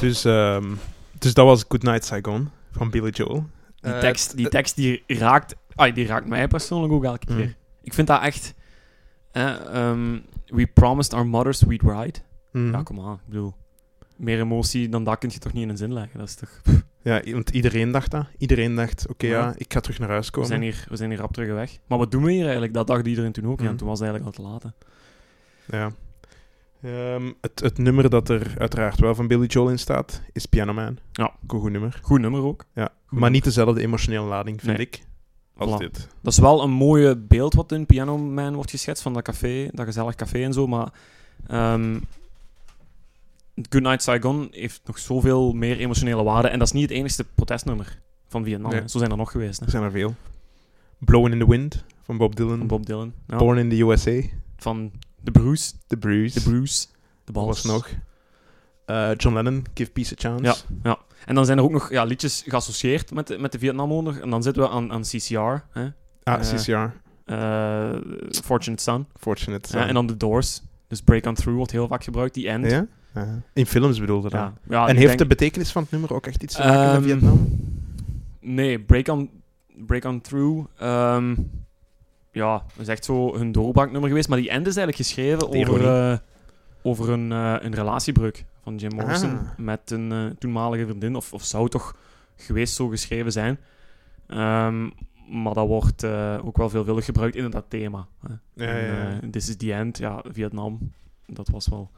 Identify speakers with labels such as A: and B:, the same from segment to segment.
A: Dus, ehm, dus dat was Good Night Saigon van Billy Joel.
B: Die
A: Eh,
B: tekst, die, tekst die, raakt, ai, die raakt mij persoonlijk ook elke
A: Mm.
B: keer. Ik vind dat echt... eh, ehm, we promised our mothers we'd ride.
A: mm.
B: Ja, kom aan. Ik bedoel, meer emotie dan dat kun je toch niet in een zin leggen. Dat is toch...
A: Ja, i- want iedereen dacht dat. Iedereen dacht, oké,
B: Ja.
A: ja, ik ga terug naar huis
B: We
A: komen.
B: zijn, hier, we zijn hier rap terug weg. Maar wat doen we hier eigenlijk? Dat dacht iedereen toen ook. Ja,
A: Mm.
B: en toen was het eigenlijk al te laat. hè.
A: Ja. Ehm, het, het nummer dat er uiteraard wel van Billy Joel in staat, is Piano Man.
B: Ja.
A: Ook een Goed nummer.
B: Goed nummer ook.
A: Ja.
B: Goed
A: Maar
B: nummer.
A: niet dezelfde emotionele lading, vind
B: Nee.
A: ik, als
B: Voilà.
A: dit.
B: Dat is wel een mooie beeld wat in Piano Man wordt geschetst van dat café, dat gezellig café en zo, maar ehm Good Night Saigon heeft nog zoveel meer emotionele waarde en dat is niet het enigste protestnummer van Vietnam.
A: Nee.
B: hè. Zo zijn er nog geweest. Hè.
A: Er zijn er veel. Blowing in the Wind van Bob Dylan.
B: Van Bob Dylan, ja.
A: Born in the USA.
B: van The Bruce,
A: The Bruce.
B: The Bruce, The
A: Wat
B: Balls.
A: was nog? Eh, John Lennon, Give Peace a Chance.
B: Ja, ja. En dan zijn er ook nog ja, liedjes geassocieerd met, de- met de Vietnamoorlog en dan zitten we aan, aan CCR, hè.
A: Ah,
B: Eh,
A: CCR.
B: Eh, Fortunate Son,
A: Fortunate.
B: hè, en dan The Doors. Dus Break On Through wordt heel vaak gebruikt, die end.
A: Ja? Ja. In films bedoelde dat.
B: Ja. Ja,
A: en
B: ik
A: heeft
B: denk-
A: de betekenis van het nummer ook echt iets te maken met
B: Ehm,
A: Vietnam?
B: Nee, Break On, break on Through. ehm, ja, dat is echt zo hun doorbraaknummer geweest. Maar die end is eigenlijk geschreven
A: De
B: over,
A: ironie.
B: eh, over een, eh, een relatiebreuk van Jim Morrison
A: Ah.
B: met een eh, toenmalige vriendin. Of, of zou toch geweest zo geschreven zijn. Ehm, maar dat wordt eh, ook wel veelvuldig gebruikt in dat thema. Hè.
A: Ja,
B: En,
A: ja, ja.
B: eh, This is the end, ja, Vietnam. Dat was wel...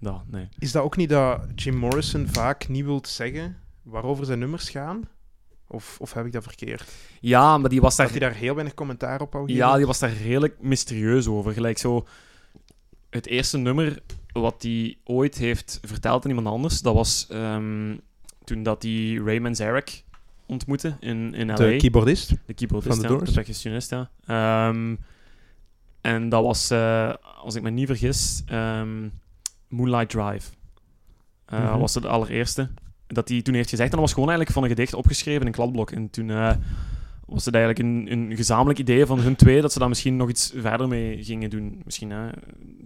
B: Dat, nee.
A: Is dat ook niet dat Jim Morrison vaak niet wilt zeggen waarover zijn nummers gaan? Of, of heb ik dat verkeerd?
B: Ja, maar die was
A: Dat
B: daar
A: hij daar heel weinig commentaar op wou geven?
B: Ja, die was daar redelijk mysterieus over. Gelijk zo, het eerste nummer wat hij ooit heeft verteld aan iemand anders, dat was ehm, toen dat hij Raymond Zarek ontmoette in, in L.A.
A: De keyboardist?
B: de keyboardist,
A: van de
B: ja,
A: Doors.
B: de percussionist, ja. Ehm, en dat was, eh, als ik me niet vergis, ehm, Moonlight Drive. Eh,
A: Mhm.
B: was het allereerste. Dat hij toen heeft gezegd. En dat was gewoon eigenlijk van een gedicht opgeschreven in een kladblok. En toen eh, was het eigenlijk een, een gezamenlijk idee van hun twee dat ze daar misschien nog iets verder mee gingen doen. Misschien eh,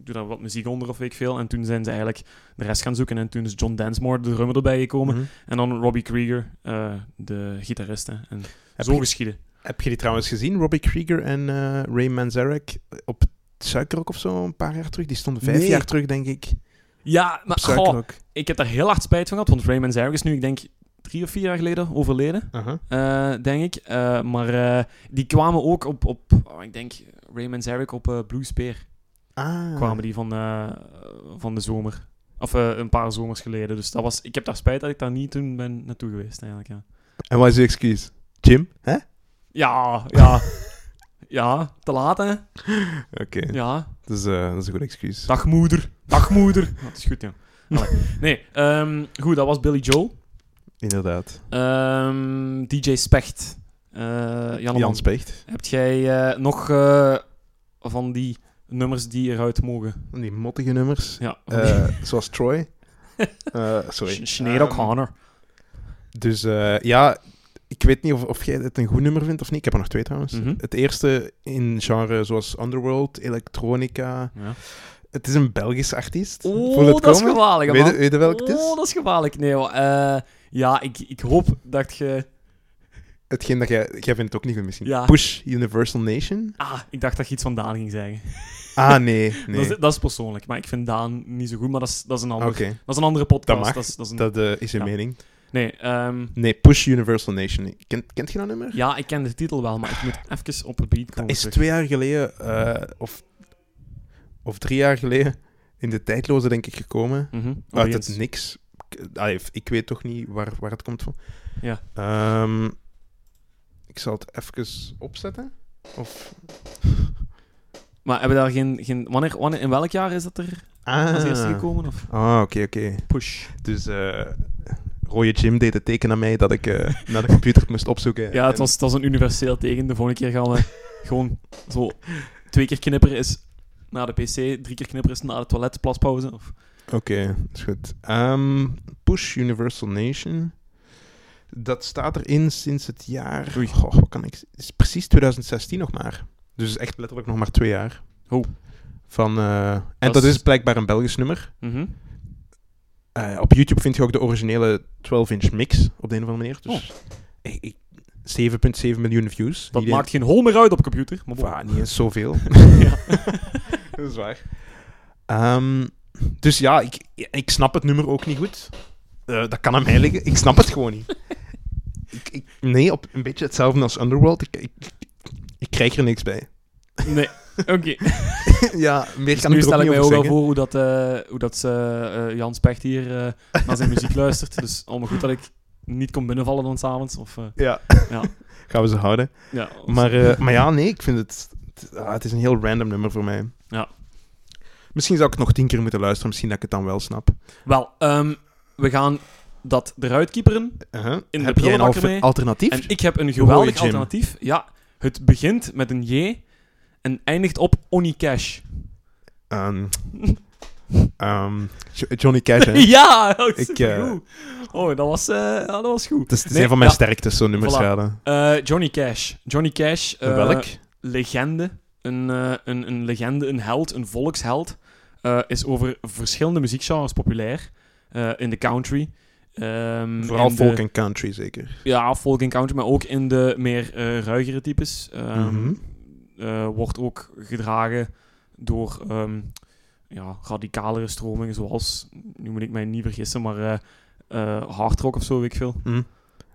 B: doe daar wat muziek onder of weet ik veel. En toen zijn ze eigenlijk de rest gaan zoeken. En toen is John Densmore, de drummer, erbij gekomen.
A: Mhm.
B: En dan Robbie Krieger, eh, de gitarist. hè. En
A: Heb,
B: zo
A: je,
B: geschieden.
A: heb je die trouwens gezien, Robbie Krieger en eh, Ray Manzarek, eh, op Suikerrock of zo, een paar jaar terug? Die stonden vijf
B: Nee.
A: jaar terug, denk ik,
B: Ja,
A: op
B: maar goh,
A: Suikerrock.
B: ik heb daar heel hard spijt van gehad, want Raymond Zarek is nu, ik denk, drie of vier jaar geleden overleden,
A: Aha.
B: eh, denk ik. Eh, maar eh, die kwamen ook op, op oh, ik denk, Raymond Zarek op eh Blue Spear
A: Ah.
B: kwamen die van, eh, van de zomer. Of eh, een paar zomers geleden. Dus dat was, ik heb daar spijt dat ik daar niet toen ben naartoe geweest, eigenlijk. Ja,
A: En wat is je excuus? Jim? Hè? Oké,
B: ja, ja, ja te laat, hè? Ja.
A: dat, is, eh, dat is een goed excuus.
B: Dag moeder, dag moeder. Ja, Dat is goed, ja. Allee. Nee, ehm, goed, dat was Billy Joel.
A: Inderdaad.
B: Ehm, DJ Specht. Eh Jan,
A: Jan Specht.
B: Heb jij eh, nog eh, van die nummers die eruit mogen?
A: Die mottige nummers.
B: Ja.
A: Eh, zoals Troy. Eh, sorry.
B: Sinead
A: Ehm,
B: O'Connor.
A: Dus eh, ja, ik weet niet of, of jij het een goed nummer vindt of niet. Ik heb er nog twee trouwens.
B: Mhm.
A: Het eerste in genre zoals Underworld, Electronica.
B: Ja.
A: Het is een Belgisch artiest. Voel
B: Oh,
A: het
B: dat is
A: komen?
B: gevaarlijk, man.
A: Weet je, weet je welk het
B: Oh,
A: is?
B: dat is gevaarlijk. Nee, hoor. Eh, ja, ik, ik hoop dat je...
A: Hetgeen dat jij... Jij vindt het ook niet goed misschien.
B: Ja.
A: Push Universal Nation?
B: Ah, ik dacht dat je iets van Daan ging zeggen.
A: Ah, nee. nee.
B: Dat, is, dat is persoonlijk, maar ik vind Daan niet zo goed, maar dat is, dat is, een,
A: Oké,
B: ander, dat is een andere podcast.
A: Dat mag.
B: is, dat is een,
A: dat eh, is je
B: Ja.
A: mening.
B: Nee, ehm,
A: Nee, Push Universal Nation. Kent, kent je dat nummer?
B: ja, ik ken de titel wel, maar ik moet even op het beat komen.
A: Dat is
B: terug.
A: twee jaar geleden, eh, of, of drie jaar geleden, in de tijdloze denk ik gekomen.
B: Mhm,
A: Uit
B: opeens.
A: het niks. Ik- allee, ik weet toch niet waar, waar het komt van.
B: Ja.
A: Ehm, ik zal het even opzetten. Of...
B: Maar hebben daar geen... geen wanneer, wanneer, in welk jaar is dat er
A: Ah,
B: als eerste gekomen? Of?
A: Ah, oké, oké.
B: Push.
A: Dus eh Rode Jim deed het teken aan mij dat ik eh, naar de computer moest opzoeken.
B: Ja, het
A: En-
B: was, het was een universeel tegen. De volgende keer gaan we gewoon zo... Twee keer knipperen is naar de pc, drie keer knipperen is naar de toilet, plaspauze. Of...
A: Oké, is goed. Ehm, Push Universal Nation. Dat staat erin sinds het jaar.
B: Oei.
A: Goh, wat kan ik. Het is precies 2016 nog maar. Dus echt letterlijk nog maar twee jaar.
B: Oh.
A: Van, eh, en
B: Dat
A: dat
B: is-
A: is blijkbaar een Belgisch nummer.
B: Mhm.
A: Eh, op YouTube vind je ook de originele 12-inch mix op de een of andere manier. Dus ik- ik- 7,7 miljoen views.
B: Oh. Dat
A: Niet
B: maakt geen hol meer uit op computer. Maar
A: eens-
B: bon.
A: Bah, niet eens zoveel.
B: Ja.
A: Dat is waar. Ehm, dus ja, ik, ik snap het nummer ook niet goed. Eh, dat kan aan mij liggen. Ik snap het gewoon niet. Ik, ik, nee, op een beetje hetzelfde als Underworld. Ik, ik, ik krijg er niks bij.
B: Nee, oké.
A: ja, meer
B: Dus
A: kan
B: nu
A: ik er ook
B: stel ik
A: niet over
B: mij ook wel
A: zeggen.
B: voor hoe dat, eh, hoe dat ze, eh, Jan Specht hier eh, naar zijn muziek luistert. Dus allemaal goed dat ik niet kon binnenvallen dan s'avonds. Of, eh,
A: Ja.
B: Ja.
A: Gaan we ze houden.
B: ja, of-
A: Maar, eh, maar ja, nee, ik vind het... Het, ah, het is een heel random nummer voor mij.
B: Ja.
A: Misschien zou ik het nog tien keer moeten luisteren. Misschien dat ik het dan wel snap.
B: Wel, ehm, we gaan dat eruit kieperen.
A: Uh-huh.
B: In de
A: Heb jij een
B: prullenbakker
A: alter-
B: mee.
A: alternatief?
B: En ik heb een
A: Hoe hoor
B: geweldig
A: je Jim?
B: alternatief. Ja, het begint met een J en eindigt op Onikash.
A: Ehm, ehm, Jo- Johnny Cash, hè?
B: Ja, dat is
A: Ik, eh,
B: supergoed. Oh, dat was, eh, ja, dat was goed.
A: Het is, het is
B: Nee,
A: een van mijn
B: ja.
A: sterktes, zo'n nummers
B: Voilà.
A: raden.
B: Eh, Johnny Cash. Johnny Cash. eh,
A: Welk?
B: legende, een, eh, een, een legende, een held, een volksheld, eh, is over verschillende muziekgenres populair. eh, in de country. ehm,
A: Vooral
B: in de-
A: folk en country, zeker.
B: Ja, folk en country, maar ook in de meer eh, ruigere types. Ehm,
A: Mhm.
B: eh, wordt ook gedragen door ehm, ja, radicalere stromingen, zoals, nu moet ik mij niet vergissen, maar eh eh, hard rock of zo, weet ik veel.
A: Hm.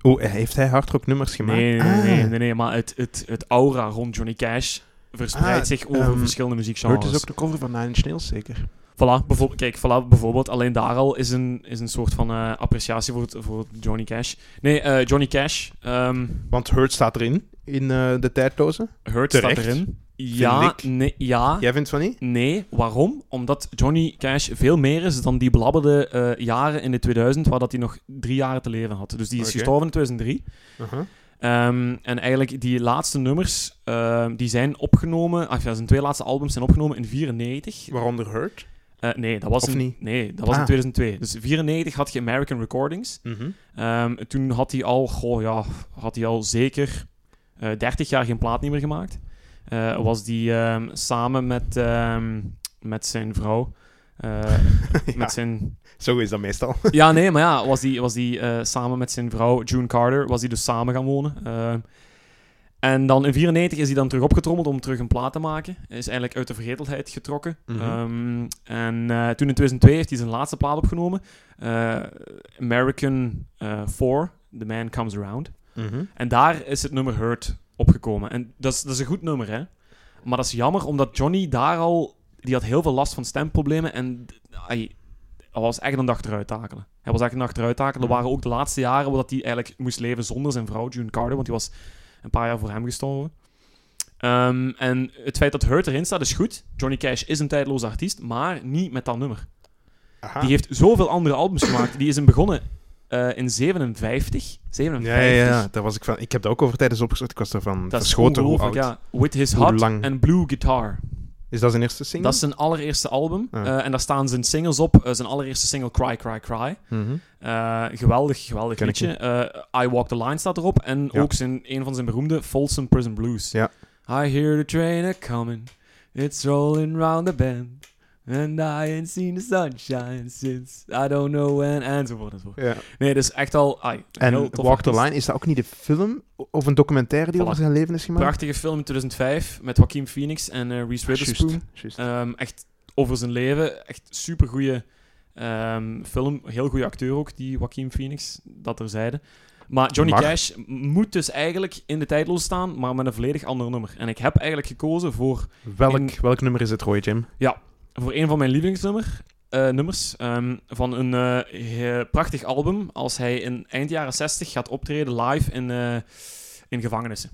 A: Oeh, heeft hij hardrock nummers gemaakt?
B: Nee, nee, nee,
A: Ah.
B: nee, nee, nee, maar het, het, het aura rond Johnny Cash verspreidt
A: Ah,
B: zich over
A: ehm,
B: verschillende
A: Hurt
B: muziekgenres.
A: is ook de cover van Nine Inch Nails, zeker.
B: Voilà, bijvoorbeeld, kijk, voilà, bijvoorbeeld, alleen daar al is een, is een soort van eh, appreciatie voor, het, voor Johnny Cash. Nee, eh, Johnny Cash, ehm
A: Want Hurt staat erin, in eh, de tijdloze.
B: Hurt staat
A: Terecht,
B: erin. Ja,
A: ik.
B: nee, ja,
A: Jij vindt van niet?
B: nee. Waarom? Omdat Johnny Cash veel meer is dan die belabberde eh, jaren in de 2000, waar dat hij nog drie jaar te leven had. Dus die is
A: Oké.
B: gestorven in 2003.
A: Uh-huh.
B: Ehm, en eigenlijk die laatste nummers, ehm, die zijn opgenomen, ah, ja, zijn twee laatste albums zijn opgenomen in 94.
A: Waaronder Hurt.
B: Eh, nee, dat was,
A: Of
B: in,
A: niet?
B: Nee, dat was in
A: Ah.
B: 2002. Dus 94 had je American Recordings.
A: Mm-hmm.
B: Ehm, toen had hij al, goh, ja, had hij al zeker eh 30 jaar geen plaat niet meer gemaakt. Eh, was die ehm, samen met, ehm, met zijn vrouw. eh,
A: ja,
B: met zijn...
A: zo is dat meestal.
B: Ja, nee, maar ja, was die, was die eh, samen met zijn vrouw June Carter, was die dus samen gaan wonen. Ehm, en dan in 94 is hij dan terug opgetrommeld om terug een plaat te maken. Hij Is eigenlijk uit de vergetelheid getrokken.
A: Mhm.
B: Ehm, en eh, toen in 2002 heeft hij zijn laatste plaat opgenomen. eh, American eh 4, The Man Comes Around.
A: Mm-hmm.
B: En daar is het nummer Hurt opgekomen. En dat is, dat is een goed nummer, hè. Maar dat is jammer, omdat Johnny daar al... Die had heel veel last van stemproblemen en hij, hij was echt een dag eruit takelen. Hij was echt een dag eruit takelen.
A: Mhm.
B: Dat waren ook de laatste jaren waar dat hij eigenlijk moest leven zonder zijn vrouw, June Carter, want die was een paar jaar voor hem gestorven. Ehm, en het feit dat Hurt erin staat is goed. Johnny Cash is een tijdloze artiest, maar niet met dat nummer.
A: Aha.
B: Die heeft zoveel andere albums gemaakt. Die is in begonnen eh, in 57. 57.
A: Ja, ja, ja, daar was ik van. Ik heb dat ook over tijdens opgezocht. Ik was daarvan
B: Dat is
A: verschoten hoe oud.
B: ongelooflijk, ja. With His
A: Hoe
B: Hot
A: lang?
B: and Blue Guitar.
A: Is dat zijn eerste single?
B: Dat is zijn allereerste album.
A: Ah.
B: Eh, en daar staan zijn singles op. Eh, zijn allereerste single Cry, Cry, Cry.
A: Mhm.
B: Eh, geweldig, geweldig
A: Ken ik
B: liedje. Eh, I Walk the Line staat erop. En
A: Ja.
B: ook zijn, een van zijn beroemde Folsom Prison Blues.
A: Ja.
B: I hear the train a coming. It's rolling round the bend. And I ain't seen the sunshine since I don't know when. Enzovoort, enzovoort.
A: ja.
B: Nee, dus echt al... ai, een heel
A: En
B: tof
A: Walk the
B: artiest.
A: Line, is dat ook niet de film of een documentaire die
B: Voilà.
A: over zijn leven is gemaakt?
B: Prachtige film in 2005 met Joaquin Phoenix en eh, Reese Witherspoon.
A: Ah, Juist, juist.
B: Ehm, echt over zijn leven. Echt super goede film. Heel goede acteur ook, die Joaquin Phoenix, dat terzijde. Maar Johnny
A: Mag.
B: Cash moet dus eigenlijk in de tijdloos staan, maar met een volledig ander nummer. En ik heb eigenlijk gekozen voor,
A: welk,
B: in-
A: welk nummer is het, Roy Jim?
B: voor een van mijn lievelingsnummers. nummers ehm, van een eh, he- prachtig album als hij in eind jaren 60 gaat optreden live in, eh, in gevangenissen.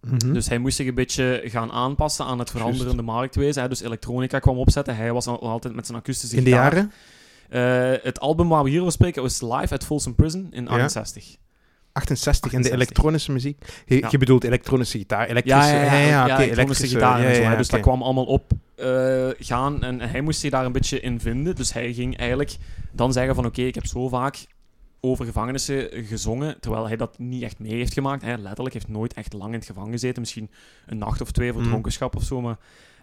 A: Mhm.
B: Dus hij moest zich een beetje gaan aanpassen aan het
A: Juist.
B: veranderende marktwezen. Hè? Dus elektronica kwam opzetten. Hij was al altijd met zijn akoestische
A: in de
B: gitaar.
A: jaren?
B: Eh, het album waar we hier over spreken was live at Folsom Prison in 68.
A: 68. En de
B: 68.
A: elektronische muziek. Je,
B: Ja.
A: je bedoelt elektronische gitaar. Elektrische, oké, eh,
B: elektronische gitaar en
A: ja,
B: zo.
A: ja,
B: hè. Dus
A: oké.
B: dat kwam allemaal op eh, gaan en hij moest zich daar een beetje in vinden. Dus hij ging eigenlijk dan zeggen van oké, ik heb zo vaak over gevangenissen gezongen, terwijl hij dat niet echt mee heeft gemaakt. Hij letterlijk heeft nooit echt lang in het gevangen gezeten. Misschien een nacht of twee voor
A: Mm.
B: dronkenschap of zo, maar...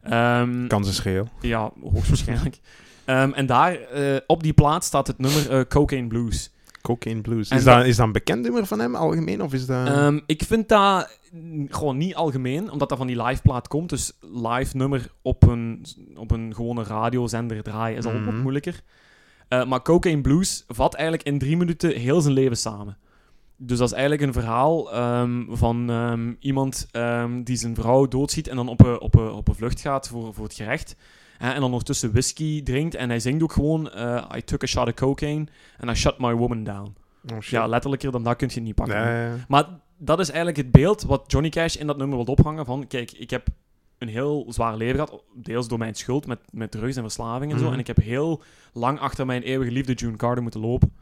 B: ehm,
A: Kans is geel.
B: ja, hoogstwaarschijnlijk. Ehm, en daar, eh, op die plaat staat het nummer eh, Cocaine Blues.
A: Cocaine Blues.
B: En
A: Is dat, is dat een bekend nummer van hem algemeen? Of is dat...
B: Ehm, ik vind dat mm, gewoon niet algemeen, omdat dat van die live plaat komt. Dus live nummer op een, op een gewone radiozender draaien is al wat
A: Mhm.
B: moeilijker. Eh, maar Cocaine Blues vat eigenlijk in drie minuten heel zijn leven samen. Dus dat is eigenlijk een verhaal ehm, van ehm, iemand ehm, die zijn vrouw doodschiet en dan op een, op een, op een vlucht gaat voor, voor het gerecht. Hè, en dan ondertussen whisky drinkt en hij zingt ook gewoon eh, I took a shot of cocaine and I shut my woman down.
A: Oh, shit.
B: Ja, letterlijker dan dat kun je niet pakken.
A: Nee.
B: Maar dat is eigenlijk het beeld wat Johnny Cash in dat nummer wil ophangen. Van, kijk, ik heb een heel zwaar leven gehad. Deels door mijn schuld met, met drugs en verslaving en zo.
A: Mhm.
B: En ik heb heel lang achter mijn eeuwige liefde June Carter moeten lopen.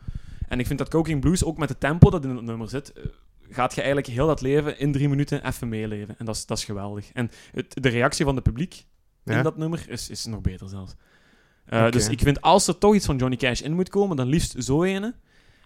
B: En ik vind dat Coking Blues, ook met het tempo dat in dat nummer zit... eh, Gaat je eigenlijk heel dat leven in drie minuten even meeleven. En dat is, dat is geweldig. En het, de reactie van het publiek
A: Ja?
B: in dat nummer is, is nog beter zelfs. Eh,
A: Oké.
B: Dus ik vind, als er toch iets van Johnny Cash in moet komen, dan liefst zo ene.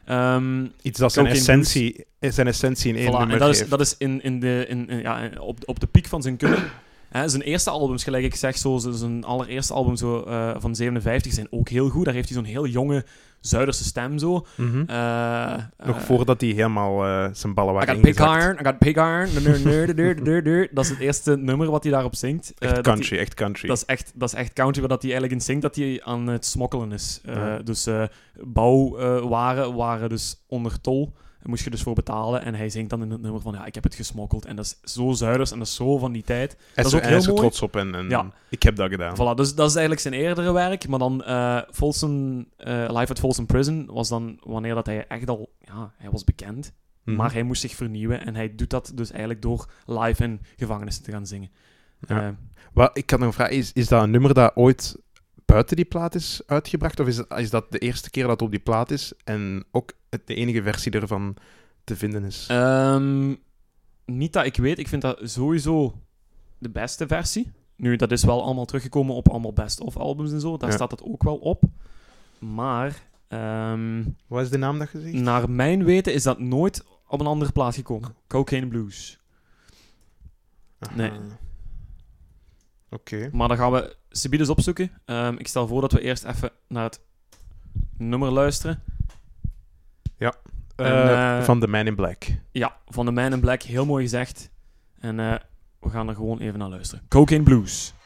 B: Ehm,
A: Iets dat zijn
B: Cocaine Blues.
A: essentie, zijn essentie in één
B: Voilà,
A: nummer
B: en dat is,
A: geeft.
B: dat is in, in de, in, in- ja, op, op de piek van zijn kunnen. Hè, zijn eerste albums, gelijk ik zeg, zo, z- zijn allereerste album zo, eh, van 57 zijn ook heel goed. Daar heeft hij zo'n heel jonge Zuiderse stem zo.
A: Mhm.
B: Eh,
A: Nog
B: eh,
A: voordat hij helemaal eh, zijn ballen
B: I
A: waren
B: got pig
A: ingezakt.
B: iron, I got pig iron. de neur, neur, de deur, de deur, deur. Dat is het eerste nummer wat hij daarop zingt. Eh,
A: Echt
B: dat hij-
A: country, echt country.
B: dat is echt, dat is echt country, waar dat hij eigenlijk in zingt dat hij aan het smokkelen is. Eh,
A: Ja.
B: Dus eh, bouwwaren waren dus onder tol. Daar moest je dus voor betalen. En hij zingt dan in het nummer van, ja, ik heb het gesmokkeld. En dat is zo zuiders en dat is zo van die tijd.
A: Hij
B: dat is
A: zo-
B: ook
A: hij is
B: heel
A: er
B: mooi.
A: trots op en, en
B: Ja.
A: ik heb dat gedaan.
B: Voilà, dus dat is eigenlijk zijn eerdere werk. Maar dan eh Folsom, eh, Live at Folsom Prison was dan wanneer dat hij echt al... Ja, hij was bekend.
A: Mhm.
B: Maar hij moest zich vernieuwen. En hij doet dat dus eigenlijk door live in gevangenissen te gaan zingen.
A: Ja.
B: Eh,
A: Wat, ik had nog een vraag. Is, is dat een nummer dat ooit buiten die plaat is uitgebracht? Of is, het- is dat de eerste keer dat het op die plaat is en ook het, de enige versie ervan te vinden is?
B: Ehm, niet dat ik weet. Ik vind dat sowieso de beste versie. Nu, dat is wel allemaal teruggekomen op allemaal best-of-albums en zo. Daar
A: Ja.
B: staat dat ook wel op. Maar ehm,
A: Wat is de naam dat je zegt?
B: naar mijn weten is dat nooit op een andere plaats gekomen. Cocaine Blues.
A: Aha.
B: nee.
A: Oké.
B: Maar dan gaan we Sibidus opzoeken. Ehm, ik stel voor dat we eerst even naar het nummer luisteren. En,
A: Eh,
B: eh,
A: van The Man in Black.
B: Ja, van de Man in Black. Heel mooi gezegd. En eh, we gaan er gewoon even naar luisteren. Cocaine Blues.